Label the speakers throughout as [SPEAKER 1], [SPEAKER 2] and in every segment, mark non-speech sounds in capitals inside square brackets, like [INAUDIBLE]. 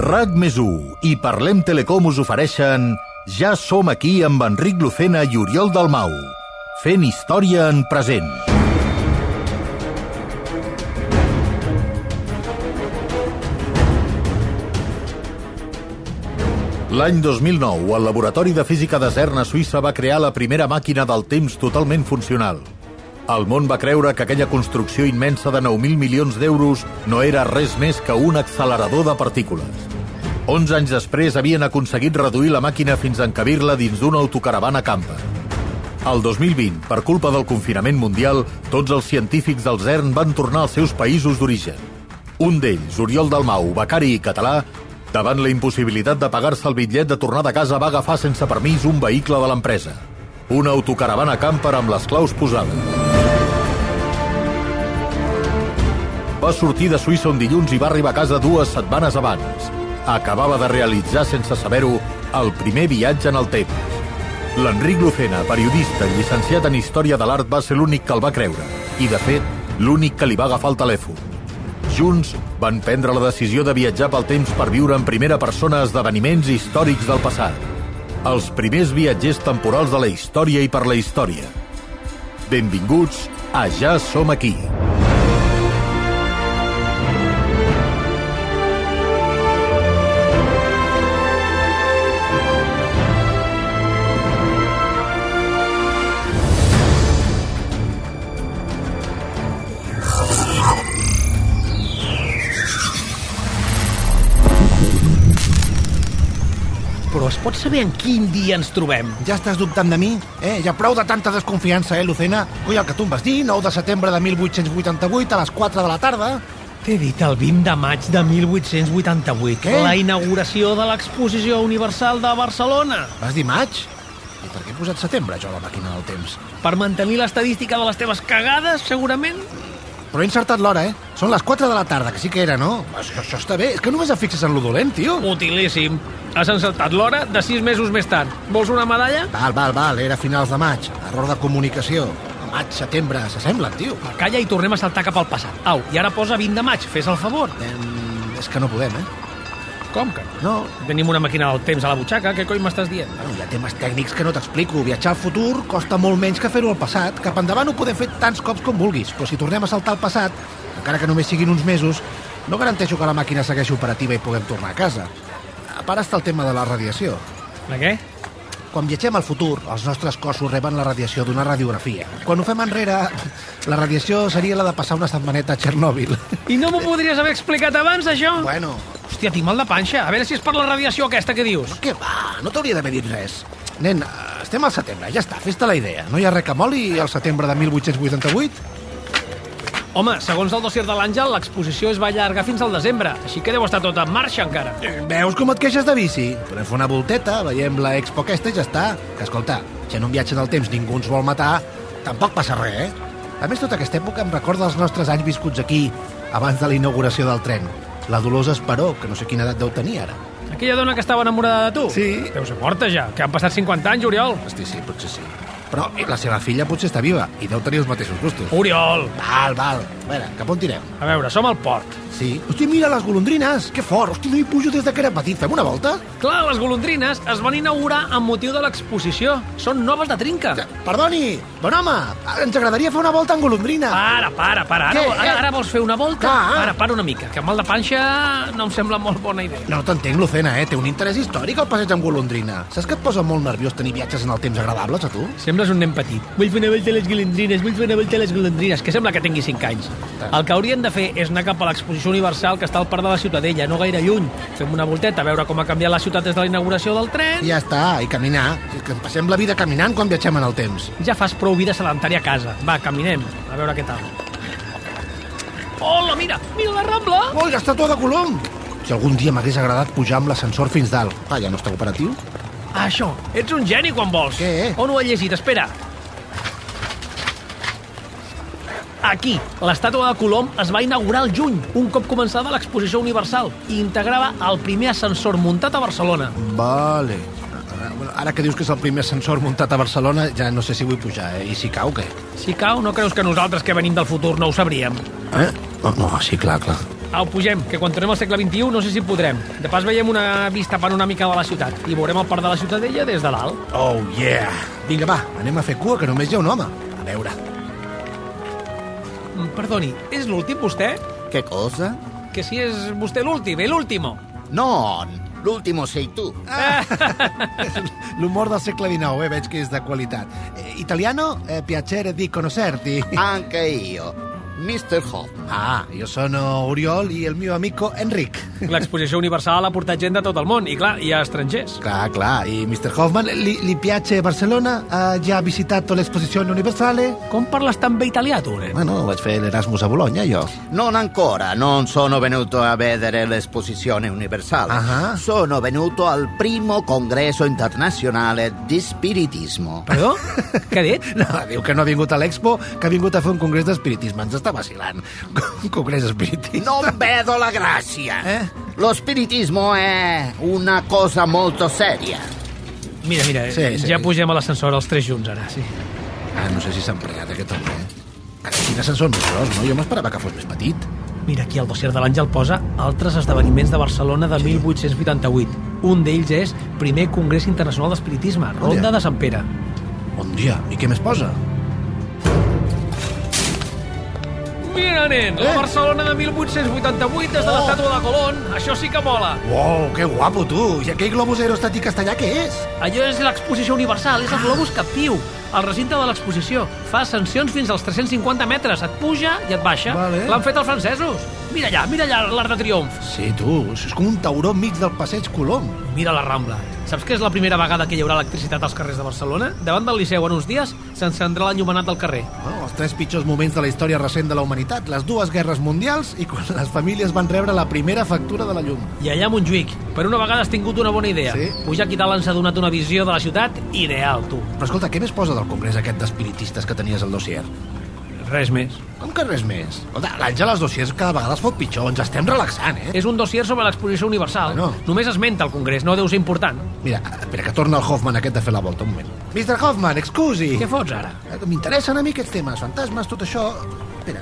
[SPEAKER 1] RAC més 1 i Parlem Telecom us ofereixen Ja som aquí amb Enric Lucena i Oriol Dalmau, fent història en present. L'any 2009, el Laboratori de Física de CERN a Suïssa va crear la primera màquina del temps totalment funcional. El món va creure que aquella construcció immensa de 9.000 milions d'euros no era res més que un accelerador de partícules. 11 anys després havien aconseguit reduir la màquina fins a encabir-la dins d'una autocaravana campa. El 2020, per culpa del confinament mundial, tots els científics del CERN van tornar als seus països d'origen. Un d'ells, Oriol Dalmau, becari i català, davant la impossibilitat de pagar-se el bitllet de tornada a casa, va agafar sense permís un vehicle de l'empresa. Una autocaravana camper amb les claus posades. va sortir de Suïssa un dilluns i va arribar a casa dues setmanes abans. Acabava de realitzar, sense saber-ho, el primer viatge en el temps. L'Enric Lucena, periodista i llicenciat en Història de l'Art, va ser l'únic que el va creure. I, de fet, l'únic que li va agafar el telèfon. Junts van prendre la decisió de viatjar pel temps per viure en primera persona esdeveniments històrics del passat. Els primers viatgers temporals de la història i per la història. Benvinguts a Ja som aquí.
[SPEAKER 2] Però es pot saber en quin dia ens trobem?
[SPEAKER 3] Ja estàs dubtant de mi? Eh, ja prou de tanta desconfiança, eh, Lucena? Coi, el que tu em vas dir, 9 de setembre de 1888 a les 4 de la tarda.
[SPEAKER 2] T'he dit el 20 de maig de 1888,
[SPEAKER 3] Què?
[SPEAKER 2] la inauguració de l'Exposició Universal de Barcelona,
[SPEAKER 3] Vas dir maig? I per què he posat setembre, jo, a la màquina del temps?
[SPEAKER 2] per mantenir l'estadística de les teves cagades, segurament.
[SPEAKER 3] Però he encertat l'hora, eh? Són les 4 de la tarda, que sí que era, no? Això, això està bé. És que només et fixes en lo dolent, tio.
[SPEAKER 2] Utilíssim. Has encertat l'hora de sis mesos més tard. Vols una medalla?
[SPEAKER 3] Val, val, val. Era finals de maig. Error de comunicació. Maig, setembre, s'assemblen, tio.
[SPEAKER 2] Calla i tornem a saltar cap al passat. Au, i ara posa 20 de maig, fes el favor.
[SPEAKER 3] Em... És que no podem, eh?
[SPEAKER 2] Com que no?
[SPEAKER 3] No,
[SPEAKER 2] Tenim una màquina del temps a la butxaca, què coi m'estàs dient?
[SPEAKER 3] Bueno, hi ha temes tècnics que no t'explico. Viatjar al futur costa molt menys que fer-ho al passat. Cap endavant ho podem fer tants cops com vulguis, però si tornem a saltar al passat, encara que només siguin uns mesos, no garanteixo que la màquina segueixi operativa i puguem tornar a casa. A part està el tema de la radiació.
[SPEAKER 2] La què?
[SPEAKER 3] Quan viatgem al futur, els nostres cossos reben la radiació d'una radiografia. Quan ho fem enrere, la radiació seria la de passar una setmaneta a Txernòbil.
[SPEAKER 2] I no m'ho podries haver explicat abans, això?
[SPEAKER 3] Bueno,
[SPEAKER 2] Hòstia, tinc mal de panxa. A veure si és per la radiació aquesta que dius.
[SPEAKER 3] què va? No t'hauria d'haver dit res. Nen, eh, estem al setembre, ja està, fes-te la idea. No hi ha res que moli al setembre de 1888?
[SPEAKER 2] Home, segons el dossier de l'Àngel, l'exposició es va allargar fins al desembre, així que deu estar tot en marxa encara.
[SPEAKER 3] Veus com et queixes de bici? Podem fer una volteta, veiem la expo aquesta i ja està. Que, escolta, si en un viatge del temps ningú ens vol matar, tampoc passa res, eh? A més, tota aquesta època em recorda els nostres anys viscuts aquí, abans de la inauguració del tren. La Dolors Esperó, que no sé quina edat deu tenir ara.
[SPEAKER 2] Aquella dona que estava enamorada de tu?
[SPEAKER 3] Sí.
[SPEAKER 2] Deu ser morta ja, que han passat 50 anys, Oriol.
[SPEAKER 3] Hosti, sí, potser sí. Però eh, la seva filla potser està viva i deu tenir els mateixos gustos.
[SPEAKER 2] Oriol!
[SPEAKER 3] Val, val. A veure, cap on tirem?
[SPEAKER 2] A veure, som al port.
[SPEAKER 3] Sí. Hosti, mira les golondrines! Que fort! Hosti, no hi pujo des de que era petit. Fem una volta?
[SPEAKER 2] Clar, les golondrines es van inaugurar amb motiu de l'exposició. Són noves de trinca.
[SPEAKER 3] Perdoni, bon home, ens agradaria fer una volta en golondrina.
[SPEAKER 2] Para, para, para. Ara,
[SPEAKER 3] Què?
[SPEAKER 2] ara, ara vols fer una volta?
[SPEAKER 3] Clar.
[SPEAKER 2] Para, para una mica, que mal de panxa no em sembla molt bona idea.
[SPEAKER 3] No t'entenc, Lucena, eh? Té un interès històric el passeig amb golondrina. Saps que et posa molt nerviós tenir viatges en el temps agradables, a tu?
[SPEAKER 2] Sembles un nen petit. Vull fer una volta a les golondrines, vull fer una volta a les golondrines, que sembla que tingui 5 anys. El que haurien de fer és anar cap a l'exposició universal que està al parc de la Ciutadella, no gaire lluny. Fem una volteta a veure com ha canviat la ciutat des de la inauguració del tren.
[SPEAKER 3] I ja està, i caminar. És que em passem la vida caminant quan viatgem en el temps.
[SPEAKER 2] Ja fas prou vida sedentària a casa. Va, caminem, a veure què tal. Hola, mira, mira la Rambla!
[SPEAKER 3] Ui, l'estàtua de Colom! Si algun dia m'hagués agradat pujar amb l'ascensor fins dalt. Ah, ja no està operatiu?
[SPEAKER 2] Ah, això, ets un geni quan vols.
[SPEAKER 3] Què?
[SPEAKER 2] On ho he llegit? Espera. Aquí, l'estàtua de Colom es va inaugurar al juny, un cop començada l'exposició universal, i integrava el primer ascensor muntat a Barcelona.
[SPEAKER 3] Vale. Ah, bueno, Ara que dius que és el primer ascensor muntat a Barcelona, ja no sé si vull pujar, eh? I si cau, què?
[SPEAKER 2] Si cau, no creus que nosaltres que venim del futur no ho sabríem?
[SPEAKER 3] Eh? No, no Oh, sí, clar, clar.
[SPEAKER 2] Au, pugem, que quan tornem al segle XXI no sé si podrem. De pas veiem una vista panoràmica de la ciutat i veurem el parc de la Ciutadella des de dalt.
[SPEAKER 3] Oh, yeah! Vinga, va, anem a fer cua, que només hi ha un home. A veure.
[SPEAKER 2] Mm, Perdoni, és l'últim, vostè?
[SPEAKER 4] ¿Qué cosa?
[SPEAKER 2] Que si és vostè l'últim, eh, l'último.
[SPEAKER 4] No, l'último sei tu.
[SPEAKER 3] [LAUGHS] L'humor del segle XIX, eh? Veig que és de qualitat. Eh, italiano, eh, piacere di conocerti.
[SPEAKER 4] Anche io, Mr. Hoffman.
[SPEAKER 3] Ah, yo sono Oriol i el meu amico Enric.
[SPEAKER 2] L'exposició universal ha portat gent de tot el món, i clar, hi ha estrangers.
[SPEAKER 3] Clar, clar. I Mr. Hoffman, li, li piace Barcelona? Ha ja visitat l'exposició universale?
[SPEAKER 2] Com parles tan bé italià, tu, nen?
[SPEAKER 3] Bueno, vaig fer l'Erasmus a Bologna, jo.
[SPEAKER 4] Non ancora, non sono venuto a vedere l'esposizione universale.
[SPEAKER 3] Ah.
[SPEAKER 4] Sono venuto al primo congresso internazionale di spiritismo.
[SPEAKER 2] Perdó? Què ha dit?
[SPEAKER 3] No, diu que no ha vingut a l'Expo, que ha vingut a fer un congrés d'espiritisme. Ens està vacilant. Un congrés espiritista.
[SPEAKER 4] Non vedo la grazia.
[SPEAKER 3] Eh?
[SPEAKER 4] Lo spiritismo è una cosa molto seria.
[SPEAKER 2] Mira, mira,
[SPEAKER 3] Sí, sí.
[SPEAKER 2] ja pugem a l'ascensor els tres junts, ara, sí.
[SPEAKER 3] Ah, no sé si s'ha ampliat aquest home, eh? Carai, quin ascensor més gros, no? Jo m'esperava que fos més petit.
[SPEAKER 2] Mira, aquí al dossier de l'Àngel posa altres esdeveniments de Barcelona de 1888. Un d'ells és Primer Congrés Internacional d'Espiritisme, Ronda de Sant Pere.
[SPEAKER 3] Bon dia. I què més posa?
[SPEAKER 2] Mira, nen, la
[SPEAKER 3] Eh?
[SPEAKER 2] Barcelona de 1888 des de l'estàtua de Colón. Això sí que mola.
[SPEAKER 3] Uau, que guapo, tu! I aquell globus aerostàtic castellà què és?
[SPEAKER 2] Allò és l'exposició universal, és el globus captiu. Al recinte de l'exposició fa ascensions fins als 350 metres, et puja i et baixa.
[SPEAKER 3] Vale.
[SPEAKER 2] L'han fet els francesos. Mira allà, mira allà l'Arc de Triomf.
[SPEAKER 3] Sí, tu, això és com un tauró enmig del passeig Colom.
[SPEAKER 2] Mira la Rambla. Saps que és la primera vegada que hi haurà electricitat als carrers de Barcelona? Davant del Liceu, en uns dies, s'encendrà l'enllumenat del carrer.
[SPEAKER 3] Bueno, Ah, els tres pitjors moments de la història recent de la humanitat, les dues guerres mundials i quan les famílies van rebre la primera factura de la llum.
[SPEAKER 2] I allà a Montjuïc, per una vegada has tingut una bona idea.
[SPEAKER 3] Sí.
[SPEAKER 2] Pujar aquí dalt ens ha donat una visió de la ciutat ideal, tu.
[SPEAKER 3] Però escolta, què més posa del congrés aquest d'espiritistes que tenies al dossier?
[SPEAKER 2] Res més.
[SPEAKER 3] Com que res més? Escolta, l'Àngel als dossiers cada vegada es fot pitjor, ens estem relaxant, eh?
[SPEAKER 2] És un dossier sobre l'exposició universal.
[SPEAKER 3] Bueno.
[SPEAKER 2] Només esmenta el Congrés, no deu ser important.
[SPEAKER 3] Mira, espera, que torna el Hoffman aquest de fer la volta, un moment. Mr. Hoffman, excusi! Eh,
[SPEAKER 2] Què fots ara?
[SPEAKER 3] M'interessen a mi aquests temes, fantasmes, tot això... Espera,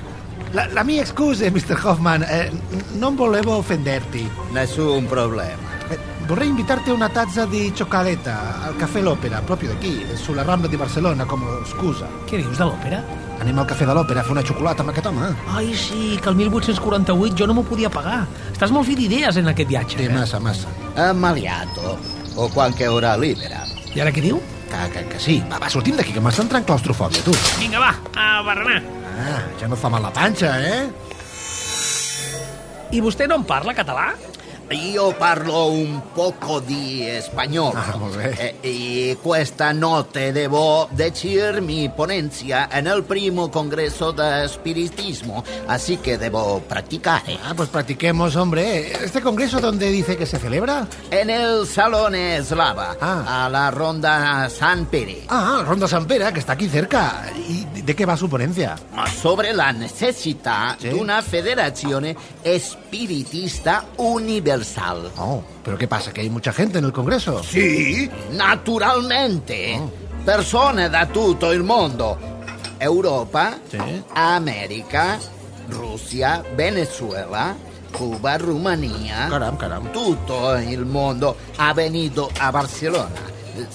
[SPEAKER 3] la, la mia excuse, [LAUGHS] Mr. Hoffman, eh, non volevo offenderti.
[SPEAKER 4] Nessun problema.
[SPEAKER 3] Eh, Vorrei invitarti a una tazza di cioccolata al Cafè L'Opera, proprio da qui, sulla Rambla di Barcellona, come scusa.
[SPEAKER 2] Què dius de l'òpera?
[SPEAKER 3] Anem al Cafè de l'Òpera a fer una xocolata amb aquest home. eh?
[SPEAKER 2] Ai, sí, que el 1848 jo no m'ho podia pagar. Estàs molt fi d'idees en aquest viatge.
[SPEAKER 3] Té massa, massa.
[SPEAKER 4] Ammaliato. Ho qualche ora libera.
[SPEAKER 2] eh? I ara què diu?
[SPEAKER 3] Que, que, que sí. Va, va, sortim d'aquí, que m'està entrant claustrofòbia, tu.
[SPEAKER 2] Vinga, va, a barrenar.
[SPEAKER 3] Ah, ja no fa mal la panxa, eh?
[SPEAKER 2] I vostè no en parla català?
[SPEAKER 4] Io parlo un poco di eh, spagnolo.
[SPEAKER 3] Ah, vabbè.
[SPEAKER 4] Eh, e questa notte devo decirmi ponenza nel primo congresso di spiritismo, así que eh, devo practicare.
[SPEAKER 3] Ah, pues practiquemos, hombre. Este congreso donde dice que se celebra?
[SPEAKER 4] En el salone slava,
[SPEAKER 3] Ah.
[SPEAKER 4] a la ronda San Pere,
[SPEAKER 3] Ah, Ronda San Pere, que está aquí cerca. ¿Y de qué va su ponencia?
[SPEAKER 4] ma sobre la necessità
[SPEAKER 3] Sì.
[SPEAKER 4] di una federazione spiritista universal.
[SPEAKER 3] Oh, pero ¿qué pasa? ¿Que hay mucha gente en el congreso?
[SPEAKER 4] Sì, naturalmente.
[SPEAKER 3] Oh.
[SPEAKER 4] Persone da tutto il mondo. Europa,
[SPEAKER 3] Sì.
[SPEAKER 4] America, Russia, Venezuela, Cuba, Romania.
[SPEAKER 3] Caram, caram.
[SPEAKER 4] Tutto il mondo ha venuto a Barcellona. Eh,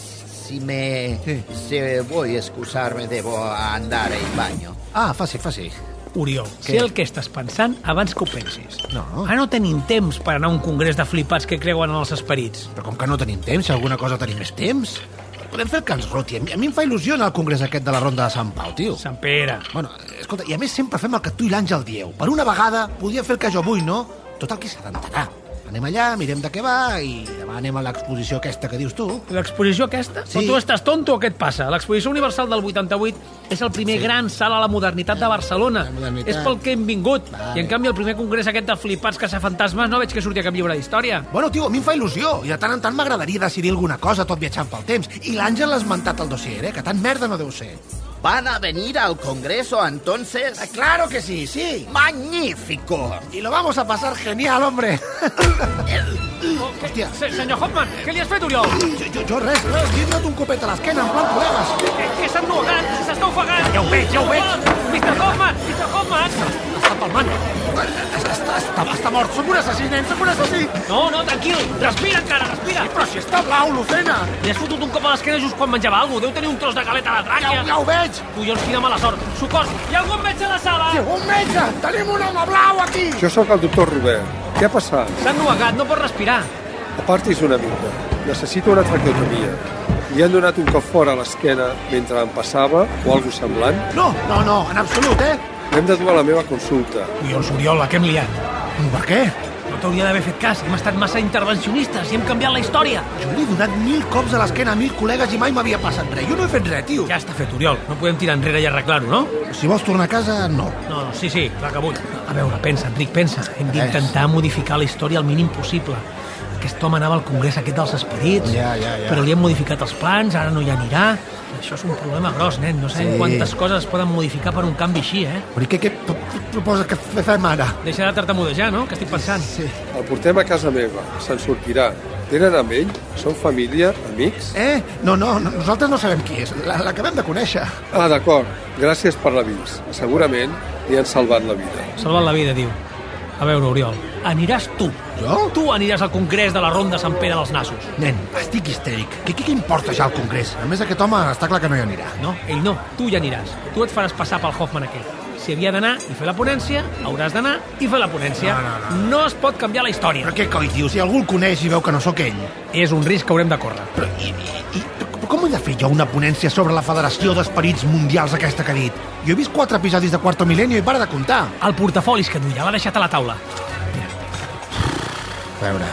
[SPEAKER 4] Si me-
[SPEAKER 3] Sì.
[SPEAKER 4] se vuoi scusarmi devo andare in bagno.
[SPEAKER 3] Ah, fácil, fácil.
[SPEAKER 2] Oriol, sé el que estàs pensant abans que ho pensis.
[SPEAKER 3] No.
[SPEAKER 2] Ara no tenim temps per anar a un congrés de flipats que creuen en els esperits.
[SPEAKER 3] Però com que no tenim temps, si alguna cosa tenim més temps... Podem fer el que ens roti. A mi, a mi em fa il·lusió anar al congrés aquest de la Ronda de Sant Pau, tio.
[SPEAKER 2] Sant Pere.
[SPEAKER 3] Bueno, escolta, i a més sempre fem el que tu i l'Àngel dieu. Per una vegada podia fer el que jo vull, no? Tot el que s'adentarà. Anem allà, mirem de què va i demà anem a l'exposició aquesta que dius tu.
[SPEAKER 2] L'exposició aquesta?
[SPEAKER 3] Sí.
[SPEAKER 2] Sí. Però tu estàs tonto o què et passa? L'exposició universal del 88 és el primer sí. gran salt a la modernitat de Barcelona.
[SPEAKER 3] La modernitat.
[SPEAKER 2] És pel que hem vingut.
[SPEAKER 3] Vale.
[SPEAKER 2] I en canvi el primer congrés aquest de flipats que fantasmes no veig que surti a cap llibre d'història.
[SPEAKER 3] Bueno, tio, a mi em fa il·lusió i de tant en tant m'agradaria decidir alguna cosa tot viatjant pel temps. I l'Àngel l'ha esmentat al dossier, eh? Que tan merda no deu ser.
[SPEAKER 4] Van a venir al congreso entonces.
[SPEAKER 3] Ah, claro que sí, sí.
[SPEAKER 4] Magnífico.
[SPEAKER 3] Y lo vamos a pasar genial, hombre.
[SPEAKER 2] Oh, què-
[SPEAKER 3] Hòstia.
[SPEAKER 2] se- Senyor Hoffman, què li has fet, Oriol?
[SPEAKER 3] jo, jo, jo res, res. Li he donat un copet a l'esquena, en plan
[SPEAKER 2] Eh,
[SPEAKER 3] col·legues.
[SPEAKER 2] Què s'ha ennuegat? S'està ofegant! Ja ho veig, ja ho veig! Mr. Hoffman! Mr. Hoffman!
[SPEAKER 3] està palmant. Està, està, està mort. Som un assassí, nen, som un assassí.
[SPEAKER 2] No, no, tranquil. Respira encara, respira.
[SPEAKER 3] Però si està blau, Lucena.
[SPEAKER 2] Li has fotut un cop a l'esquena just quan menjava alguna cosa. Deu tenir un tros de galeta a la
[SPEAKER 3] Ja, ho-
[SPEAKER 2] tràquea.
[SPEAKER 3] ja ho veig.
[SPEAKER 2] Collons, quina mala sort. Socors, hi ha algun metge a la sala?
[SPEAKER 3] Un metge! Tenim un home blau aquí!
[SPEAKER 5] Jo sóc el doctor Robert. Què ha passat?
[SPEAKER 2] S'ha ennuegat, no pot respirar.
[SPEAKER 5] Apartis una mica. Necessito una traqueotomia. Li han donat un cop fora a l'esquena mentre em passava o alguna cosa semblant.
[SPEAKER 3] No, no, no, en absolut, eh?
[SPEAKER 5] L'hem de dur a la meva consulta.
[SPEAKER 2] Collons, Oriola, que hem liat.
[SPEAKER 3] Per què?
[SPEAKER 2] No t'hauria d'haver fet cas. Hem estat massa intervencionistes i hem canviat la història.
[SPEAKER 3] Jo li he donat mil cops a l'esquena a mil col·legues i mai m'havia passat res. Jo no he fet res, tio.
[SPEAKER 2] Ja està fet, Oriol. No podem tirar enrere i arreglar-ho, no?
[SPEAKER 3] Si vols tornar a casa, no.
[SPEAKER 2] No, no, sí, sí, clar que vull. A veure, pensa, Enric, pensa. Hem
[SPEAKER 3] Res.
[SPEAKER 2] d'intentar modificar la història al mínim possible. Aquest home anava al congrés aquest dels esperits,
[SPEAKER 3] Ja, ja, ja.
[SPEAKER 2] però li hem modificat els plans, ara no hi anirà. Això és un problema gros, nen. No sabem
[SPEAKER 3] Sí.
[SPEAKER 2] quantes coses es poden modificar per un canvi així, eh?
[SPEAKER 3] Però i què, què p- p- proposa que f- fem ara?
[SPEAKER 2] Deixa de tartamudejar, no? Què estic pensant?
[SPEAKER 3] Sí.
[SPEAKER 5] El portem a casa meva. Se'n sortirà. Tenen amb ell? Són família? Amics?
[SPEAKER 3] Eh? No, no, no, nosaltres no sabem qui és. La- L'acabem de conèixer.
[SPEAKER 5] Ah, d'acord. Gràcies per l'avís. Segurament li han salvat la vida.
[SPEAKER 2] Salvant la vida, diu. A veure, Oriol, aniràs tu.
[SPEAKER 3] Jo?
[SPEAKER 2] Tu aniràs al congrés de la Ronda Sant Pere dels Nassos.
[SPEAKER 3] Nen, estic histèric. Què, què, què importa ja el Congrés? A més, aquest home està clar que no hi anirà.
[SPEAKER 2] No, ell no, tu ja aniràs. Tu et faràs passar pel Hoffman aquell. Si havia d'anar i fer la ponència, hauràs d'anar i fer la ponència.
[SPEAKER 3] No, no,
[SPEAKER 2] no. es pot canviar la història.
[SPEAKER 3] Però què coi, tio? Si algú el coneix i veu que no sóc ell.
[SPEAKER 2] És un risc que haurem de córrer.
[SPEAKER 3] Però, i, i, i, però com he de fer jo una ponència sobre la Federació d'Esperits Mundials aquesta que ha dit? Jo he vist quatre episodis de Quarto Milenio i para de comptar.
[SPEAKER 2] El portafolis que duia l'ha deixat a la taula.
[SPEAKER 3] A veure...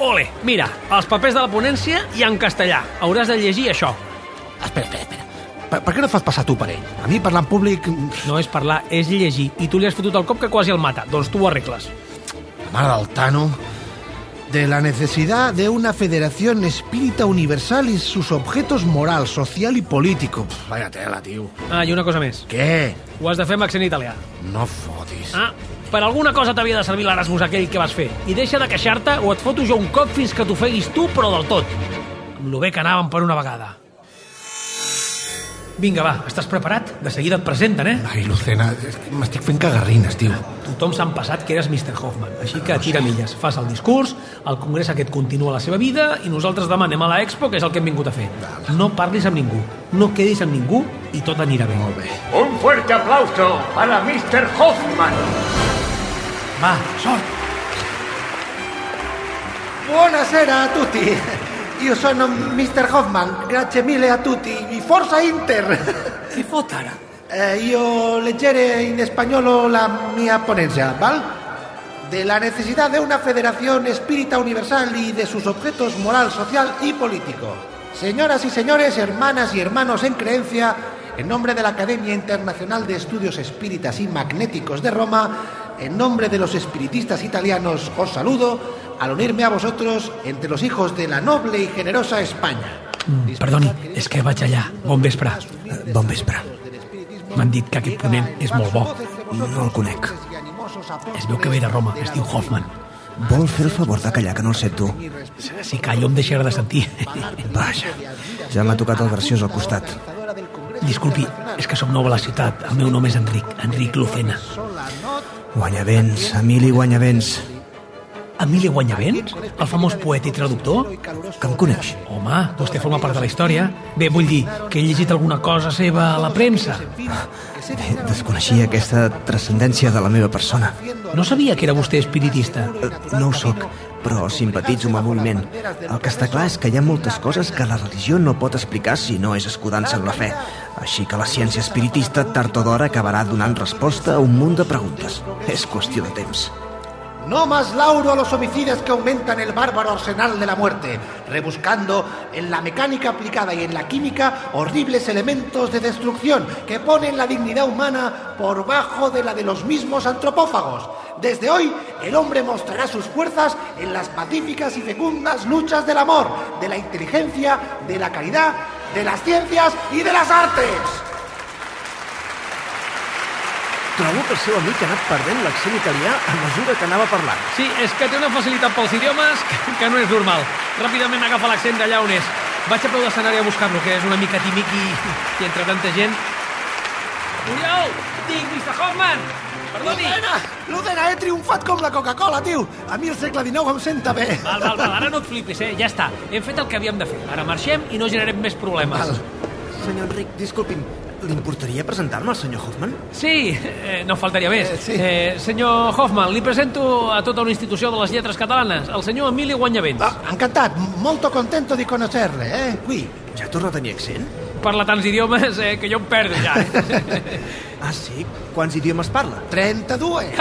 [SPEAKER 2] Ole, mira, els papers de la ponència i en castellà. Hauràs de llegir això.
[SPEAKER 3] Espera, espera, espera. Per, per què no fas passar tu per ell? A mi parlar en públic... mm,
[SPEAKER 2] No és parlar, és llegir. I tu li has fotut el cop que quasi el mata. Doncs tu ho arregles.
[SPEAKER 3] La mare del Tano... De la necesidad de una federación espírita universal y sus objetos moral, social y político. Pff, vaya tela, tio.
[SPEAKER 2] Ah, i una cosa més.
[SPEAKER 3] Què?
[SPEAKER 2] Ho has de fer amb accent italià.
[SPEAKER 3] No fotis.
[SPEAKER 2] Ah, per alguna cosa t'havia de servir l'Erasmus aquell que vas fer. I deixa de queixar-te o et foto jo un cop fins que t'ofeguis tu, però del tot. Amb lo bé que anàvem per una vegada. Vinga, va, estàs preparat? De seguida et presenten, eh?
[SPEAKER 3] Ai, Lucena, és que m'estic fent cagarrines, tio.
[SPEAKER 2] Tothom s'han passat que eres Mr. Hoffman, així que tira milles, fas el discurs, el congrés aquest continua la seva vida i nosaltres demà anem a l'Expo, que és el que hem vingut a fer. No parlis amb ningú, no quedis amb ningú i tot anirà bé. Molt bé.
[SPEAKER 6] Un fuerte aplauso para Mr. Hoffman.
[SPEAKER 2] Va, sort!
[SPEAKER 3] Buonasera a tutti. Io sono Mr. Hoffman, grazie mille a tutti. E forza Inter!
[SPEAKER 2] Què fot ara?
[SPEAKER 3] Eh, io leggere in spagnolo la mia ponencia, ¿vale? De la necesidad de una federación espírita universal y de sus objetos moral, social y político. Señoras y señores, hermanas y hermanos en creencia, en nombre de la Academia Internacional de Estudios Espíritas y Magnéticos de Roma, en nombre de los espiritistas italianos, os saludo al unirme a vosotros entre los hijos de la noble y generosa España.
[SPEAKER 2] Perdoni, és Mm, que vaig allà. Bon vespre. Eh, Bon vespre. M'han dit que aquest ponent és molt bo i no el conec. Es veu que ve de Roma, es diu Hoffman.
[SPEAKER 7] Vol fer el favor de callar, que no el sento.
[SPEAKER 2] Si callo em deixarà de sentir. [LAUGHS]
[SPEAKER 7] Vaja, ja m'ha tocat el graciós al costat.
[SPEAKER 2] Disculpi, és que sóc nou a la ciutat. El meu nom és Enric, Enric Lucena.
[SPEAKER 7] Guanyavents, Emili Guanyavents.
[SPEAKER 2] Emili Guanyavents, el famós poeta i traductor?
[SPEAKER 7] Que em coneix?
[SPEAKER 2] Home, vostè forma part de la història. Bé, vull dir que he llegit alguna cosa seva a la premsa.
[SPEAKER 7] Bé, Eh, desconeixia aquesta transcendència de la meva persona.
[SPEAKER 2] No sabia que era vostè espiritista.
[SPEAKER 7] Eh, No ho sóc, però simpatitzo amb el moviment. El que està clar és que hi ha moltes coses que la religió no pot explicar si no és escudant-se en la fe. Així que la ciència espiritista tard o d'hora acabarà donant resposta a un munt de preguntes. És qüestió de temps.
[SPEAKER 3] No más lauro a los homicidas que aumentan el bárbaro arsenal de la muerte, rebuscando en la mecánica aplicada y en la química horribles elementos de destrucción que ponen la dignidad humana por bajo de la de los mismos antropófagos. Desde hoy, el hombre mostrará sus fuerzas en las pacíficas y fecundas luchas del amor, de la inteligencia, de la caridad, de las ciencias y de las artes.
[SPEAKER 8] Trobo que el seu amic ha anat perdent l'accent italià a mesura que anava parlant.
[SPEAKER 2] Sí, és que té una facilitat pels idiomes que, que no és normal. Ràpidament agafa l'accent d'allà on és. Vaig a peu d'escenari a buscar-lo, que és una mica tímic i, i entre tanta gent... Oriol! Dic, Mr. Hoffman! Perdoni!
[SPEAKER 3] L'Udena! L'Udena, he triomfat com la Coca-Cola, tio! A mi el segle XIX em senta bé.
[SPEAKER 2] Val, val, val, ara no et flipis, eh? Ja està, hem fet el que havíem de fer. Ara marxem i no generem més problemes.
[SPEAKER 3] Val.
[SPEAKER 7] Senyor Enric, disculpi'm, li importaria presentar-me al senyor Hoffman?
[SPEAKER 2] Sí, eh, no faltaria més.
[SPEAKER 3] Eh, sí.
[SPEAKER 2] eh, senyor Hoffman, li presento a tota una institució de les lletres catalanes, el senyor Emili Guanyavents.
[SPEAKER 3] Ah, encantat, molto contento di conocerle, eh? Qui?
[SPEAKER 7] Ja torna a tenir accent?
[SPEAKER 2] Parla tants idiomes eh, que jo em perdo ja.
[SPEAKER 3] [LAUGHS]
[SPEAKER 7] Ah, sí? Quants idiomes parla?
[SPEAKER 3] 32.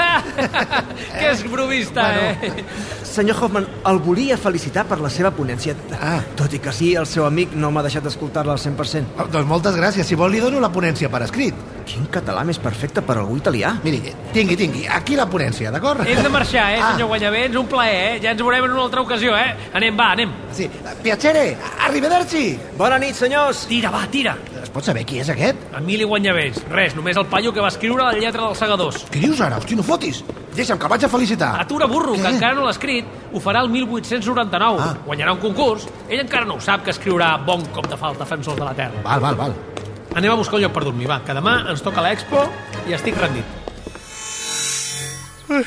[SPEAKER 2] [LAUGHS] que és bromista, eh?
[SPEAKER 7] Senyor Hoffman, el volia felicitar per la seva ponència.
[SPEAKER 3] Ah.
[SPEAKER 7] Tot i que sí, el seu amic no m'ha deixat escoltar-la al 100%.
[SPEAKER 3] Oh, doncs moltes gràcies. Si vol, li dono la ponència per escrit.
[SPEAKER 7] Quin català més perfecte per algú italià?
[SPEAKER 3] Miri, eh, tingui, tingui, aquí la ponència, d'acord?
[SPEAKER 2] Hem de marxar, eh,
[SPEAKER 3] Ah.
[SPEAKER 2] senyor Guanyavents? Un plaer, eh? Ja ens veurem en una altra ocasió, eh? Anem, va, anem.
[SPEAKER 3] Sí, piacere, arrivederci!
[SPEAKER 7] Bona nit, senyors!
[SPEAKER 2] Tira, va, tira.
[SPEAKER 3] Es pot saber qui és aquest?
[SPEAKER 2] Emili Guanyavents. Res, només el paio que va escriure la lletra dels segadors.
[SPEAKER 3] Què dius ara? Hosti, no fotis! Deixa'm, que vaig a felicitar.
[SPEAKER 2] Atura burro, que
[SPEAKER 3] Ah. Què?
[SPEAKER 2] encara no l'ha escrit, ho farà el 1899.
[SPEAKER 3] Ah.
[SPEAKER 2] Guanyarà un concurs. Ell encara no ho sap, que escriurà Bon cop de falta, defensors de la terra.
[SPEAKER 3] Val, val, val.
[SPEAKER 2] Anem a buscar un lloc per dormir, va, que demà ens toca l'expo i estic rendit.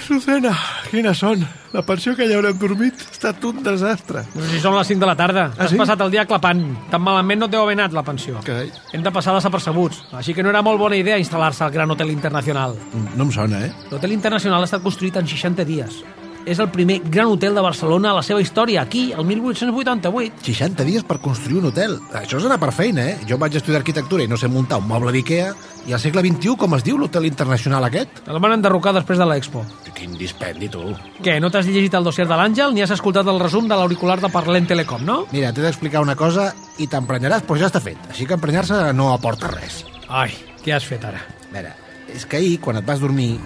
[SPEAKER 3] Susana, quina son. La pensió que ja haurem dormit ha estat un desastre.
[SPEAKER 2] No sé si són les 5 de la tarda. Ah, Has
[SPEAKER 3] sí?
[SPEAKER 2] passat el dia clapant. Tan malament no et deu haver anat la pensió.
[SPEAKER 3] Carai.
[SPEAKER 2] Hem de passar desapercebuts. Així que no era molt bona idea instal·lar-se al Gran Hotel Internacional.
[SPEAKER 3] No em sona, eh?
[SPEAKER 2] L'Hotel Internacional ha estat construït en 60 dies. És el primer gran hotel de Barcelona a la seva història, aquí, el 1888.
[SPEAKER 3] 60 dies per construir un hotel. Això és anar per feina, eh? Jo vaig estudiar arquitectura i no sé muntar un moble d'IKEA. I al segle XXI, com es diu l'hotel internacional aquest?
[SPEAKER 2] El van enderrocar després de l'expo.
[SPEAKER 3] Quin dispendi, tu.
[SPEAKER 2] Què, no t'has llegit el dossier de l'Àngel ni has escoltat el resum de l'auricular de Parlem Telecom, no?
[SPEAKER 3] Mira, t'he d'explicar una cosa i t'emprenyaràs, però ja està fet. Així que emprenyar-se no aporta res.
[SPEAKER 2] Ai, què has fet ara?
[SPEAKER 3] A veure, és que ahir, quan et vas dormir,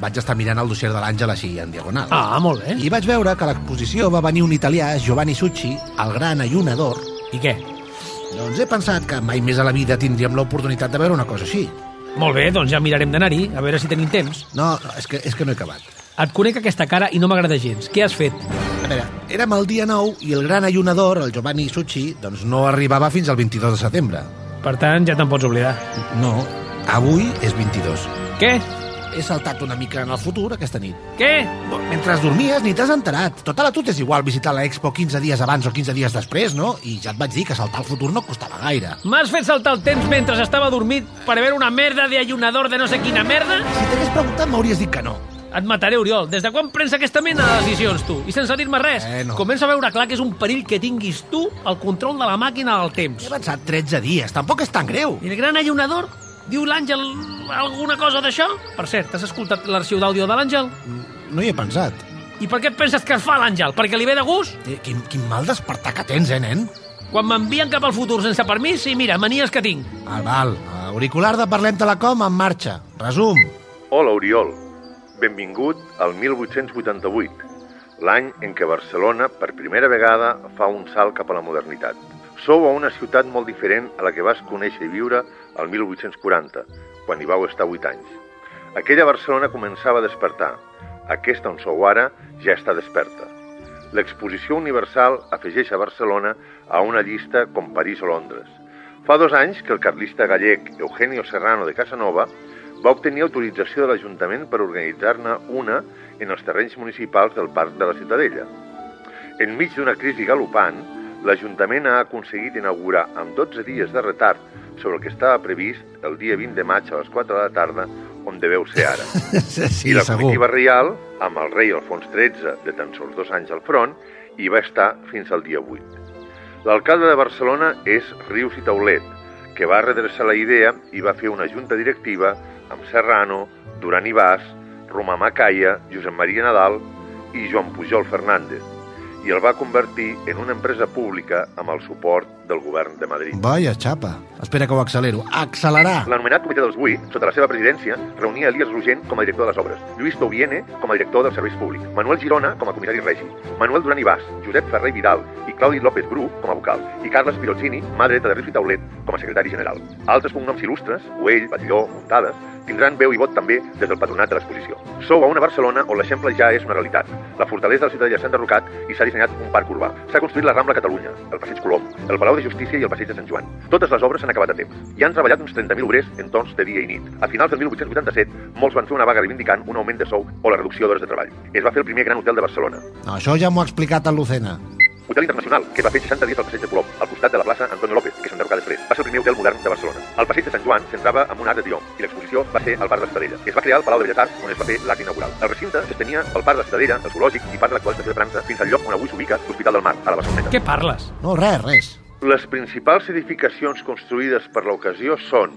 [SPEAKER 3] vaig estar mirant el dossier de l'Àngel així, en diagonal.
[SPEAKER 2] Ah, molt bé.
[SPEAKER 3] I vaig veure que a l'exposició va venir un italià, Giovanni Succi, el gran ayunador.
[SPEAKER 2] I què?
[SPEAKER 3] Doncs he pensat que mai més a la vida tindríem l'oportunitat de veure una cosa així.
[SPEAKER 2] Molt bé, doncs ja mirarem d'anar-hi, a veure si tenim temps.
[SPEAKER 3] No, no, és que, és que no he acabat.
[SPEAKER 2] Et conec aquesta cara i no m'agrada gens. Què has fet?
[SPEAKER 3] A veure, érem el dia 9 i el gran ayunador, el Giovanni Succi, doncs no arribava fins al 22 de setembre.
[SPEAKER 2] Per tant, ja te'n pots oblidar.
[SPEAKER 3] No, avui és 22.
[SPEAKER 2] Què?
[SPEAKER 3] He saltat una mica en el futur aquesta nit.
[SPEAKER 2] Què?
[SPEAKER 3] Bo, Mentre dormies ni t'has enterat. Total, a tu t'és igual visitar la Expo 15 dies abans o 15 dies després, no? I ja et vaig dir que saltar al futur no costava gaire.
[SPEAKER 2] M'has fet saltar el temps mentre estava dormit per veure una merda d'allunador de no sé quina merda?
[SPEAKER 3] Si t'hagués preguntat m'hauries dit que no.
[SPEAKER 2] Et mataré, Oriol. Des de quan prens aquesta mena de decisions, tu? I sense dir-me res.
[SPEAKER 3] Eh, no.
[SPEAKER 2] Comença a veure clar que és un perill que tinguis tu el control de la màquina del temps.
[SPEAKER 3] He avançat 13 dies, tampoc és tan greu.
[SPEAKER 2] I el gran allunador? Diu l'Àngel alguna cosa d'això? Per cert, has escoltat l'arxiu d'àudio de l'Àngel?
[SPEAKER 3] Mm, No hi he pensat.
[SPEAKER 2] I per què et penses que es fa l'Àngel? Perquè li ve de gust?
[SPEAKER 3] Eh, Quin, quin mal despertar que tens, eh, nen?
[SPEAKER 2] Quan m'envien cap al futur sense permís, i mira, manies que tinc.
[SPEAKER 3] Val, val. Auricular de Parlem Telecom en marxa. Resum.
[SPEAKER 9] Hola, Oriol. Benvingut al 1888, l'any en què Barcelona, per primera vegada, fa un salt cap a la modernitat. Sou a una ciutat molt diferent a la que vas conèixer i viure al 1840, quan hi vau estar 8 anys. Aquella Barcelona començava a despertar. Aquesta on sou ara ja està desperta. L'exposició universal afegeix a Barcelona a una llista com París o Londres. Fa dos anys que el carlista gallec Eugenio Serrano de Casanova va obtenir autorització de l'Ajuntament per organitzar-ne una en els terrenys municipals del Parc de la Ciutadella. Enmig d'una crisi galopant, l'Ajuntament ha aconseguit inaugurar amb 12 dies de retard sobre el que estava previst el dia 20 de maig a les 4 de la tarda, on deveu ser ara.
[SPEAKER 3] Sí, sí
[SPEAKER 9] I la comitiva reial, amb el rei Alfons XIII de tan sols dos anys al front, hi va estar fins al dia 8. L'alcalde de Barcelona és Rius i Taulet, que va redreçar la idea i va fer una junta directiva amb Serrano, Duran i Bas, Romà Macaya, Josep Maria Nadal i Joan Pujol Fernández, i el va convertir en una empresa pública amb el suport del govern de Madrid.
[SPEAKER 3] Vaya xapa. Espera que ho accelero. Accelerar.
[SPEAKER 9] L'anomenat Comitè dels Vuit, sota la seva presidència, reunia Elias Rugent com a director de les obres, Lluís Touviene com a director dels serveis públics, Manuel Girona com a comissari regi, Manuel Duran i Bas, Josep Ferrer i Vidal i Claudi López Bru com a vocal, i Carles Pirozzini, mà dreta de Rius i Taulet, com a secretari general. Altres cognoms il·lustres, Güell, Batlló, Muntades, tindran veu i vot també des del patronat de l'exposició. Sou a una Barcelona on l'eixample ja és una realitat. La fortalesa de la ciutadella s'ha enderrocat i s'ha dissenyat un parc urbà. S'ha construït la Rambla Catalunya, el Passeig Colom, el Palau de Justícia i el passeig de Sant Joan. Totes les obres s'han acabat a temps. Hi han treballat uns 30.000 obrers en torns de dia i nit. A finals del 1887, molts van fer una vaga reivindicant un augment de sou o la reducció d'hores de treball. Es va fer el primer gran hotel de Barcelona.
[SPEAKER 3] No, això ja m'ho ha explicat el Lucena.
[SPEAKER 9] Hotel Internacional, que es va fer 60 dies al passeig de Colom, al costat de la plaça Antonio López, que s'enderrocà després. Va ser el primer hotel modern de Barcelona. El passeig de Sant Joan s'entrava amb un arc de triomf i l'exposició va ser al Parc de l'Estadella. Es va crear el Palau de Belles Arts, on es va fer l'acte inaugural. El recinte s'estenia pel Parc de l'Estadella, el Zoològic i part de l'actual estació de França, fins al lloc on avui s'ubica l'Hospital del Mar, a la Barceloneta.
[SPEAKER 2] Què parles?
[SPEAKER 3] No, res, res.
[SPEAKER 9] Les principals edificacions construïdes per l'ocasió són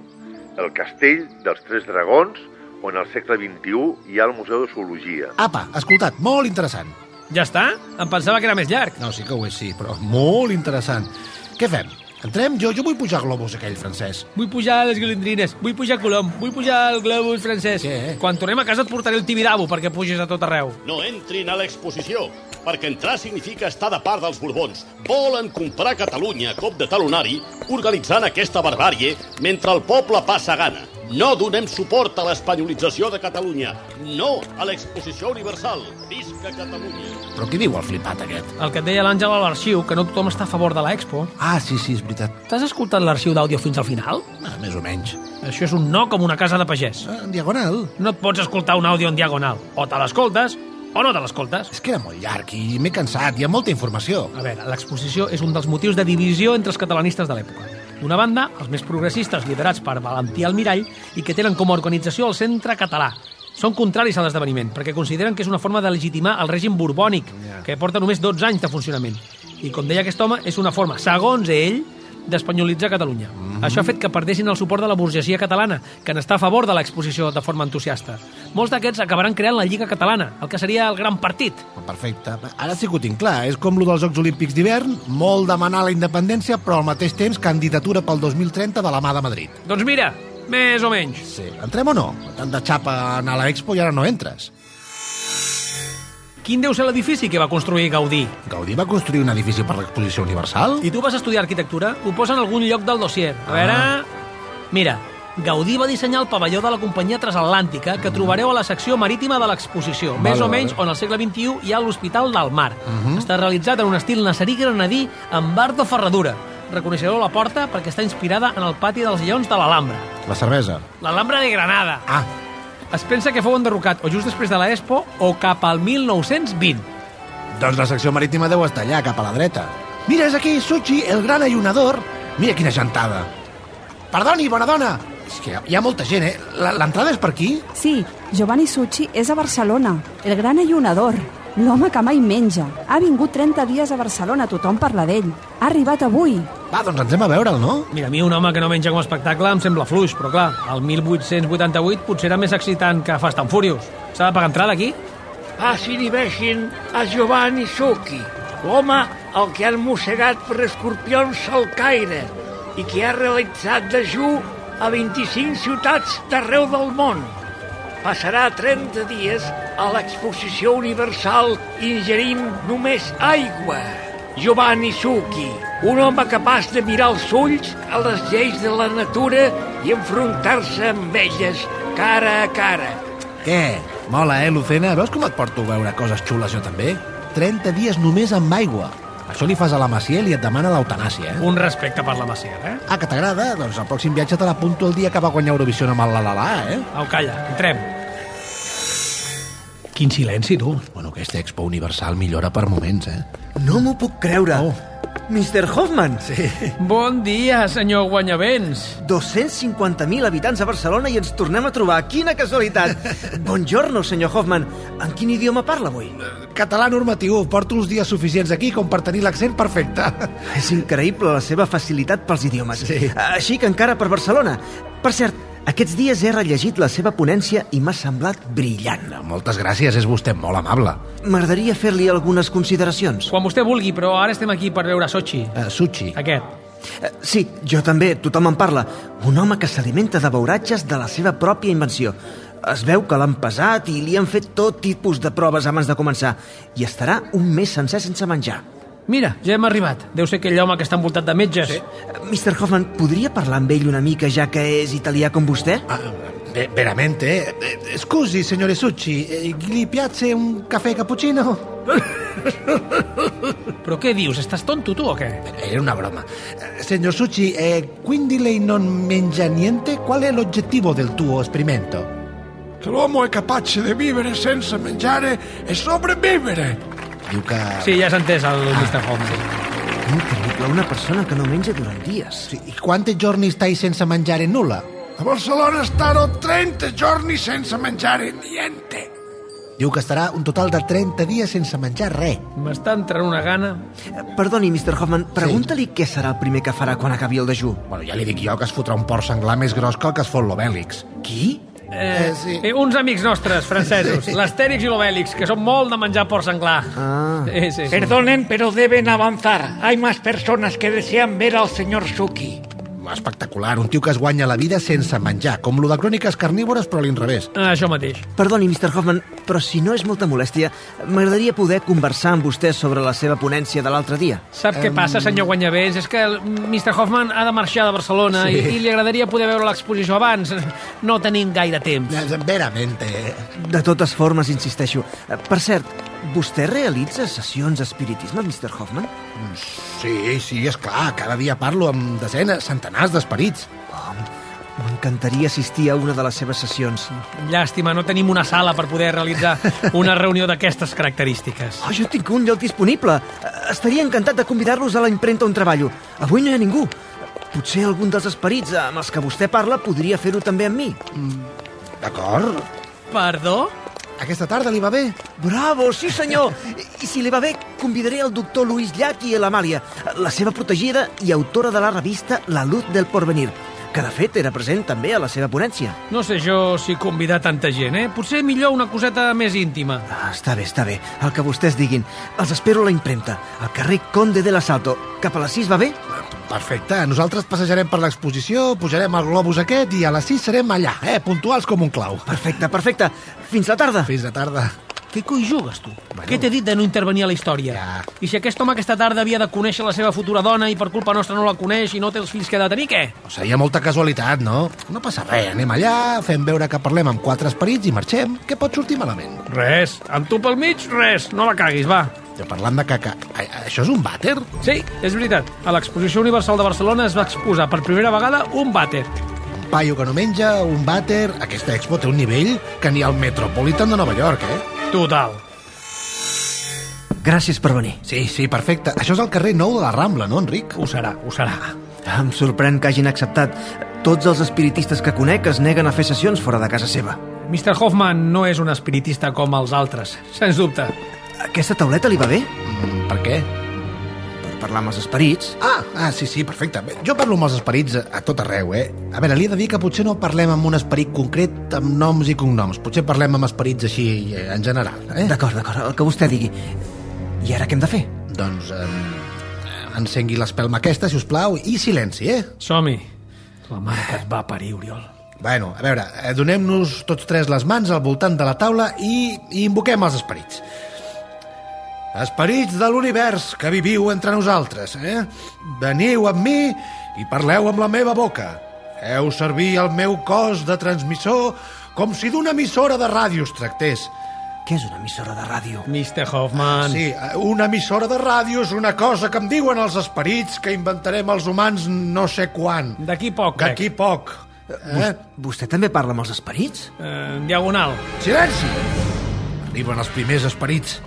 [SPEAKER 9] el Castell dels Tres Dragons, on al segle XXI hi ha el Museu de Zoologia.
[SPEAKER 3] Apa, escoltat, molt interessant.
[SPEAKER 2] Ja està? Em pensava que era més llarg.
[SPEAKER 3] No, sí que ho és, sí, però molt interessant. Què fem? Entrem? Jo, jo vull pujar globus aquell francès.
[SPEAKER 2] Vull pujar a les golondrines, vull pujar a Colom, vull pujar al globus francès.
[SPEAKER 3] Què?
[SPEAKER 2] Quan tornem a casa et portaré el Tibidabo perquè pugis a tot arreu.
[SPEAKER 10] No entrin a l'exposició, perquè entrar significa estar de part dels Borbons. Volen comprar Catalunya a cop de talonari, organitzant aquesta barbàrie mentre el poble passa gana. No donem suport a l'espanyolització de Catalunya. No a l'exposició universal. Visca Catalunya!
[SPEAKER 3] Però qui diu el flipat aquest?
[SPEAKER 2] El que et deia l'Àngel a l'arxiu, que no tothom està a favor de l'Expo.
[SPEAKER 3] Ah, sí, sí, és veritat.
[SPEAKER 2] T'has escoltat l'arxiu d'àudio fins al final?
[SPEAKER 3] Ah, més o menys.
[SPEAKER 2] Això és un no com una casa de pagès.
[SPEAKER 3] Ah, en diagonal.
[SPEAKER 2] No et pots escoltar un àudio en diagonal. O te l'escoltes o no te l'escoltes.
[SPEAKER 3] És que era molt llarg i m'he cansat, hi ha molta informació.
[SPEAKER 2] A veure, l'exposició és un dels motius de divisió entre els catalanistes de l'època. D'una banda, els més progressistes liderats per Valentí Almirall i que tenen com a organització el Centre Català. Són contraris a l'esdeveniment, perquè consideren que és una forma de legitimar el règim borbònic, que porta només 12 anys de funcionament. I, com deia aquest home, és una forma, segons ell, d'espanyolitzar Catalunya. Això ha fet que perdessin el suport de la burgesia catalana, que n'està a favor de l'exposició de forma entusiasta. Molts d'aquests acabaran creant la Lliga Catalana, el que seria el gran partit,
[SPEAKER 3] Perfecte. Ara sí que ho tinc clar. És com lo dels Jocs Olímpics d'hivern, molt demanar la independència, però al mateix temps candidatura pel 2030 de la mà de Madrid.
[SPEAKER 2] Doncs mira, més o menys.
[SPEAKER 3] Sí. Entrem o no? Tant de xapa a anar a l'Expo i ara no entres.
[SPEAKER 2] Quin deu ser l'edifici que va construir Gaudí?
[SPEAKER 3] Gaudí va construir un edifici per l'exposició universal?
[SPEAKER 2] I tu vas estudiar arquitectura? Ho posa en algun lloc del dossier. A veure... Mira, Gaudí va dissenyar el pavelló de la companyia transatlàntica que trobareu a la secció marítima de l'exposició, més o menys on al segle XXI hi ha l'Hospital del Mar. Està realitzat en un estil nasserí granadí amb bar de ferradura. Reconeixereu la porta perquè està inspirada en el pati dels lleons de l'Alhambra.
[SPEAKER 3] La cervesa.
[SPEAKER 2] L'Alhambra de Granada.
[SPEAKER 3] Ah,
[SPEAKER 2] Es pensa que fou enderrocat o just després de l'Expo o cap al 1920.
[SPEAKER 3] doncs la secció marítima deu estar allà, cap a la dreta. Mira, és aquí, Suchi, el gran ayunador. Mira quina gentada. Perdoni, bona dona. És que hi ha molta gent, eh? La- L'entrada és per aquí?
[SPEAKER 11] Sí, Giovanni Succi és a Barcelona, el gran ayunador, l'home que mai menja. Ha vingut 30 dies a Barcelona, tothom parla d'ell. Ha arribat avui.
[SPEAKER 3] Va, doncs ens hem a veure'l, no?
[SPEAKER 2] Mira, a mi un home que no menja com a espectacle em sembla fluix, però clar, el 1888 potser era més excitant que Fast and Furious. S'ha de pagar entrada aquí?
[SPEAKER 6] Passin i vegin a Giovanni Succhi, l'home al que han mossegat per escorpions al caire i que ha realitzat dejú a 25 ciutats d'arreu del món. Passarà 30 dies a l'exposició universal ingerint només aigua. Giovanni Succhi, un home capaç de mirar els ulls a les lleis de la natura i enfrontar-se amb elles cara a cara.
[SPEAKER 3] Què? Mola, eh, Lucena? Veus com et porto a veure coses xules jo també? 30 dies només amb aigua. Això li fas a la Maciel i et demana l'eutanàsia, eh?
[SPEAKER 2] Un respecte per la Maciel, eh?
[SPEAKER 3] Ah, que t'agrada? Doncs el pròxim viatge te l'apunto el dia que va guanyar Eurovisió amb el la la la, eh?
[SPEAKER 2] Au, calla, entrem. Quin silenci, tu.
[SPEAKER 3] Bueno, aquesta Expo Universal millora per moments, eh?
[SPEAKER 8] No m'ho puc creure.
[SPEAKER 3] Oh.
[SPEAKER 8] Mr. Hoffman! Sí.
[SPEAKER 2] Bon dia, senyor Guanyavents.
[SPEAKER 8] 250.000 habitants a Barcelona i ens tornem a trobar. Quina casualitat!
[SPEAKER 3] [LAUGHS]
[SPEAKER 8] Buongiorno, senyor Hoffman. En quin idioma parla avui?
[SPEAKER 3] Català normatiu, porto uns dies suficients aquí com per tenir l'accent perfecte.
[SPEAKER 8] És increïble la seva facilitat pels idiomes. Sí. Així que encara per Barcelona. Per cert, aquests dies he rellegit la seva ponència i m'ha semblat brillant.
[SPEAKER 3] Moltes gràcies, és vostè molt amable.
[SPEAKER 8] M'agradaria fer-li algunes consideracions.
[SPEAKER 2] Quan vostè vulgui, però ara estem aquí per veure Sochi.
[SPEAKER 3] Uh, Suchi.
[SPEAKER 2] Aquest.
[SPEAKER 8] Eh, Sí, jo també, tothom en parla. Un home que s'alimenta de beuratges de la seva pròpia invenció. Es veu que l'han pesat i li han fet tot tipus de proves abans de començar. I estarà un mes sencer sense menjar.
[SPEAKER 2] Mira, ja hem arribat. Deu ser aquell home que està envoltat de metges.
[SPEAKER 8] Eh, Mr. Hoffman, podria parlar amb ell una mica, ja que és italià com vostè?
[SPEAKER 3] Ah, ve- eh, veramente? Eh, scusi, signore Succi, eh, gli piace un caffè cappuccino?
[SPEAKER 2] Però què dius? Estàs tonto, tu, o què?
[SPEAKER 3] Era una broma. Senyor Suchi, eh, quindi lei non mangia niente? Qual è l'obiettivo del tuo esperimento?
[SPEAKER 12] Che l'uomo è capace di vivere senza mangiare e sopravvivere.
[SPEAKER 3] Diu que...
[SPEAKER 2] Sí, ja s'ha entès el Mr. Holmes.
[SPEAKER 8] Increïble, una persona que no menja durant dies.
[SPEAKER 3] Sí, I quanti giorni stai senza mangiare nulla?
[SPEAKER 12] A Barcellona starò 30 giorni senza mangiare niente.
[SPEAKER 3] Diu que estarà un total de 30 dies sense menjar res.
[SPEAKER 2] M'està entrant una gana.
[SPEAKER 8] Eh, Perdoni, Mr. Hoffman, pregunta-li què serà el primer que farà quan acabi el dejú.
[SPEAKER 3] Bueno, ja li dic jo que es fotrà un porc senglar més gros que el que es fot l'Obèlix.
[SPEAKER 8] Qui?
[SPEAKER 2] Eh, sí. eh, uns amics nostres, francesos, l'Astèrix i l'Obèlix, que són molt de menjar porc senglar.
[SPEAKER 8] Ah.
[SPEAKER 2] Eh, sí.
[SPEAKER 6] Perdonen, pero deben avanzar. Hay más personas que desean ver al señor Suki.
[SPEAKER 3] Espectacular, un tio que es guanya la vida sense menjar, com lo de cròniques carnívores però a l'inrevés.
[SPEAKER 2] Ah, Això mateix.
[SPEAKER 8] Perdoni, Mr. Hoffman, però si no és molta molèstia, m'agradaria poder conversar amb vostè sobre la seva ponència de l'altre dia.
[SPEAKER 2] Sap què passa, senyor Guanyavés? És que el Mr. Hoffman ha de marxar de Barcelona sí. i, i li agradaria poder veure l'exposició abans. No tenim gaire temps.
[SPEAKER 3] Eh, Veramente.
[SPEAKER 8] De totes formes, insisteixo. Eh, Per cert, vostè realitza sessions d'espiritisme, Mr. Hoffman?
[SPEAKER 3] Sí, sí, és clar, cada dia parlo amb desenes, centenars d'esperits.
[SPEAKER 8] Oh, M'encantaria assistir a una de les seves sessions.
[SPEAKER 2] Llàstima, no tenim una sala per poder realitzar una reunió d'aquestes característiques.
[SPEAKER 8] Oh, jo tinc un lloc disponible. Eh, Estaria encantat de convidar-los a la impremta on treballo. Avui no hi ha ningú. Potser algun dels esperits amb els que vostè parla podria fer-ho també amb mi.
[SPEAKER 3] D'acord.
[SPEAKER 2] Perdó?
[SPEAKER 3] Aquesta tarda li va bé?
[SPEAKER 8] Bravo, sí senyor! I si li va bé, convidaré el doctor Luis Llach i l'Amàlia, la seva protegida i autora de la revista La Luz del Porvenir, que de fet era present també a la seva ponència.
[SPEAKER 2] No sé jo si convidar tanta gent, eh? Potser millor una coseta més íntima.
[SPEAKER 8] Ah, està bé, està bé, el que vostès diguin. Els espero a la impremta, al carrer Conde de la Salto. Cap a les 6 va bé?
[SPEAKER 3] Perfecte, nosaltres passejarem per l'exposició, pujarem al globus aquest i a les 6 serem allà, eh, puntuals com un clau.
[SPEAKER 8] Perfecte, perfecte. Fins la tarda.
[SPEAKER 3] Fins la tarda.
[SPEAKER 2] Què coi jugues, tu? Què t'he dit de no intervenir a la història?
[SPEAKER 3] Ja.
[SPEAKER 2] I si aquest home aquesta tarda havia de conèixer la seva futura dona i per culpa nostra no la coneix i no té els fills que ha de tenir, què?
[SPEAKER 3] Seria molta casualitat, no? No passa res, anem allà, fem veure que parlem amb quatre esperits i marxem. Què pot sortir malament?
[SPEAKER 2] Res. Amb tu pel mig, res. No la caguis, va.
[SPEAKER 3] Ja parlant de caca, a- a- això és un vàter?
[SPEAKER 2] Sí, és veritat. A l'Exposició Universal de Barcelona es va exposar per primera vegada un vàter.
[SPEAKER 3] Un paio que no menja, un vàter... Aquesta expo té un nivell que ni al Metropolitan de Nova York, eh?
[SPEAKER 2] Total.
[SPEAKER 8] Gràcies per venir.
[SPEAKER 3] Sí, sí, perfecte. Això és el carrer nou de la Rambla, no, Enric?
[SPEAKER 2] Ho serà, ho serà.
[SPEAKER 8] Em sorprèn que hagin acceptat. Tots els espiritistes que conec es neguen a fer sessions fora de casa seva.
[SPEAKER 2] Mr. Hoffman no és un espiritista com els altres, sens dubte.
[SPEAKER 8] Aquesta tauleta li va bé?
[SPEAKER 3] Mm, per què?
[SPEAKER 8] Per parlar amb els esperits.
[SPEAKER 3] Ah, ah, sí, sí, perfecte. Bé, Jo parlo amb els esperits a, a tot arreu, eh? A veure, li he de dir que potser no parlem amb un esperit concret amb noms i cognoms. Potser parlem amb esperits així eh, en general, eh?
[SPEAKER 8] D'acord, d'acord, el que vostè digui. I ara què hem de fer?
[SPEAKER 3] Doncs eh, encengui l'espelma aquesta, si us plau, i silenci, eh?
[SPEAKER 2] Som-hi. La mare que et va parir, Oriol.
[SPEAKER 3] Bueno, a veure, eh, donem-nos tots tres les mans al voltant de la taula i, i invoquem els esperits. Esperits de l'univers que viviu entre nosaltres, eh? Veniu amb mi i parleu amb la meva boca. Feu servir el meu cos de transmissor com si d'una emissora de ràdio es tractés.
[SPEAKER 8] Què és una emissora de ràdio?
[SPEAKER 2] Mr. Hoffman...
[SPEAKER 3] Sí, eh, una emissora de ràdio és una cosa que em diuen els esperits que inventarem els humans no sé quan.
[SPEAKER 2] D'aquí poc, crec.
[SPEAKER 3] D'aquí poc. Eh?
[SPEAKER 8] Vostè també parla amb els esperits?
[SPEAKER 2] Eh, en diagonal.
[SPEAKER 3] Silenci! Arriben els primers esperits.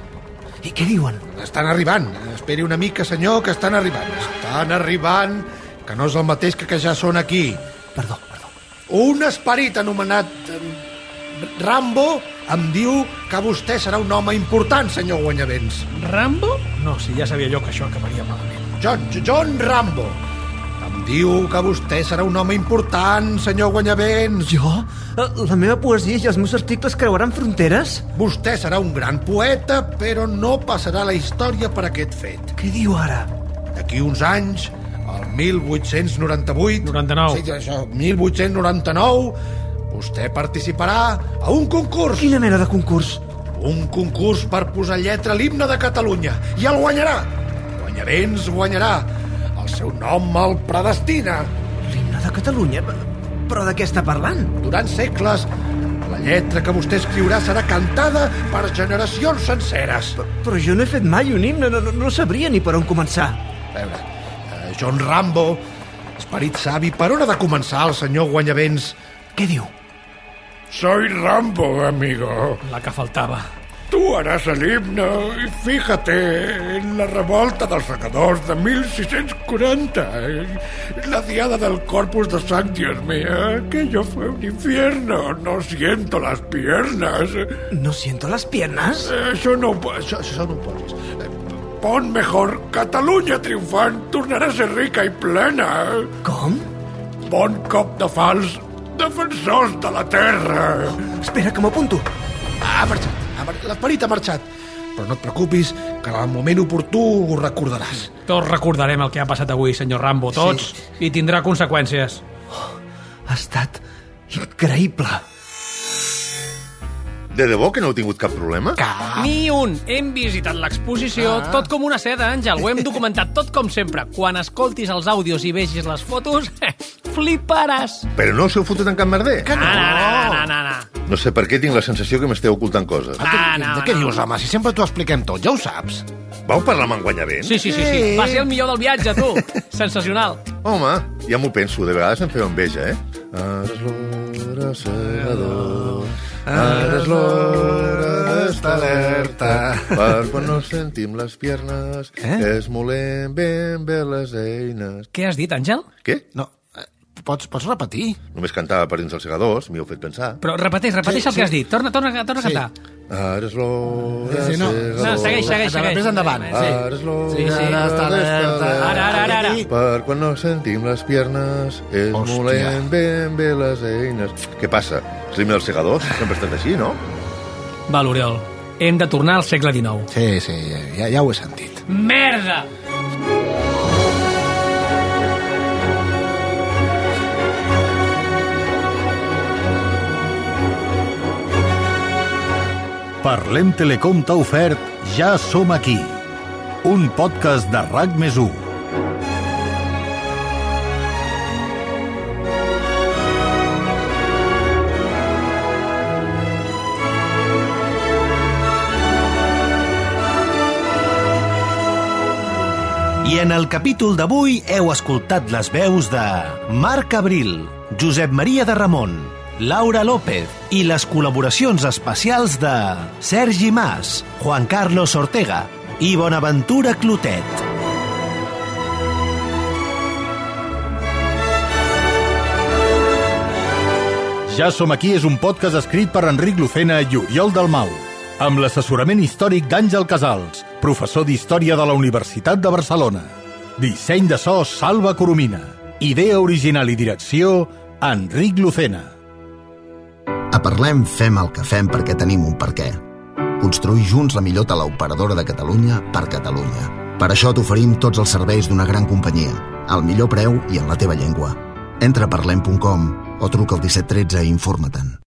[SPEAKER 8] I què diuen?
[SPEAKER 3] Estan arribant. Esperi una mica, senyor, que estan arribant. Estan arribant, que no és el mateix que que ja són aquí.
[SPEAKER 8] Perdó, perdó.
[SPEAKER 3] Un esperit anomenat em, Rambo em diu que vostè serà un home important, senyor Guanyavents.
[SPEAKER 2] Rambo? No, si ja sabia jo que això acabaria malament.
[SPEAKER 3] John, John Rambo. Em diu que vostè serà un home important, senyor Guanyavents.
[SPEAKER 8] Jo? Eh, La meva poesia i els meus articles creuaran fronteres?
[SPEAKER 3] Vostè serà un gran poeta, però no passarà a la història per aquest fet.
[SPEAKER 8] Què diu ara?
[SPEAKER 3] D'aquí uns anys, el 1898...
[SPEAKER 2] 99.
[SPEAKER 3] Sí, això, 1899, vostè participarà a un concurs.
[SPEAKER 8] Quina mena de concurs?
[SPEAKER 3] Un concurs per posar lletra a l'himne de Catalunya. I el guanyarà. Guanyavents guanyarà. El seu nom el predestina.
[SPEAKER 8] L'himne de Catalunya? Però de què està parlant?
[SPEAKER 3] Durant segles,
[SPEAKER 13] La lletra que vostè escriurà serà cantada per generacions senceres.
[SPEAKER 8] Però jo no he fet mai un himne, no, no, no sabria ni per on començar.
[SPEAKER 13] A veure, eh, John Rambo, esperit savi, per on ha de començar el senyor Guanyavents? Què diu?
[SPEAKER 1] Soy Rambo, amigo.
[SPEAKER 2] La que faltaba.
[SPEAKER 1] Tú harás el himno y fíjate en la revolta dels secadors de 1640, eh, la diada del Corpus de San Dios mío, aquello fue un infierno, no siento las piernas.
[SPEAKER 8] ¿No siento las piernas?
[SPEAKER 1] Eh, Això no, ho po- això, això no ho posis. Eh, Pon mejor Catalunya triomfant tornarà a ser rica i plena.
[SPEAKER 8] Com?
[SPEAKER 1] Bon cop de fals, defensors de la terra.
[SPEAKER 8] Espera, que m'apunto.
[SPEAKER 13] Ha marxat, ha marxat, l'esperit ha marxat. Però no et preocupis, que en el moment oportú ho recordaràs.
[SPEAKER 2] Tots recordarem el que ha passat avui, senyor Rambo, tots, sí. i tindrà conseqüències.
[SPEAKER 8] Ha estat increïble.
[SPEAKER 9] De debò que no heu tingut cap problema?
[SPEAKER 13] Cap.
[SPEAKER 2] Ni un. Hem visitat l'exposició, ah. tot com una seda, Àngel. Ho hem documentat tot com sempre. Quan escoltis els àudios i vegis les fotos, [LAUGHS] fliparàs.
[SPEAKER 9] Però no us heu fotut en cap merder?
[SPEAKER 2] Que no. Na, na, na, na, na.
[SPEAKER 9] No sé per què tinc la sensació que m'esteu ocultant coses.
[SPEAKER 2] Ah, no,
[SPEAKER 13] De què dius, home? Si sempre t'ho expliquem tot, ja ho saps.
[SPEAKER 9] Vau parlar amb en Guanyavent?
[SPEAKER 2] Sí, sí, sí, sí. Va ser el millor del viatge, [LAUGHS] tu. Sensacional.
[SPEAKER 9] Home, ja m'ho penso, de vegades em feu enveja, eh? Ara és l'hora segador, ara és l'hora d'estar alerta, per quan no sentim les piernes, eh? es molem ben bé les eines.
[SPEAKER 2] Què has dit, Àngel?
[SPEAKER 9] Què?
[SPEAKER 13] No, eh, pots, pots repetir?
[SPEAKER 9] Només cantava per dins els segadors, m'hi heu fet pensar.
[SPEAKER 2] Però repeteix, repeteix sí, el que has dit. Torna, torna, torna a cantar.
[SPEAKER 9] Ara és l'hora
[SPEAKER 13] Sí, sí, no.
[SPEAKER 9] segador.
[SPEAKER 2] No, segueix, segueix, segueix.
[SPEAKER 13] Més endavant.
[SPEAKER 2] Sí.
[SPEAKER 9] Ara és l'hora
[SPEAKER 2] Sí, sí.
[SPEAKER 9] d'estar alerta.
[SPEAKER 2] Ara, ara, ara, ara.
[SPEAKER 9] Per quan no sentim les piernes, es
[SPEAKER 13] Hòstia.
[SPEAKER 9] molem ben bé les eines. Què passa? El ritme dels segadors sempre ha estat així, no?
[SPEAKER 2] Val, Oriol. Hem de tornar al segle XIX.
[SPEAKER 13] Sí, sí, ja, ja ho he sentit.
[SPEAKER 2] Merda!
[SPEAKER 14] Parlem Telecom t'ha ofert Ja som aquí, un podcast de RAC més 1.
[SPEAKER 3] I en el capítol d'avui heu escoltat les veus de Marc Abril, Josep Maria de Ramon, Laura López i les col·laboracions especials de Sergi Mas, Juan Carlos Ortega i Bonaventura Clotet.
[SPEAKER 14] Ja som aquí és un podcast escrit per Enric Lucena i Oriol Dalmau, amb l'assessorament històric d'Àngel Casals, professor d'Història de la Universitat de Barcelona. Disseny de so Salva Coromina. Idea original i direcció Enric Lucena.
[SPEAKER 4] A Parlem fem el que fem perquè tenim un per què. Construir junts la millor teleoperadora de Catalunya per Catalunya. Per això t'oferim tots els serveis d'una gran companyia, al millor preu i en la teva llengua. Entra a parlem.com o truca al 1713 i informa-te'n.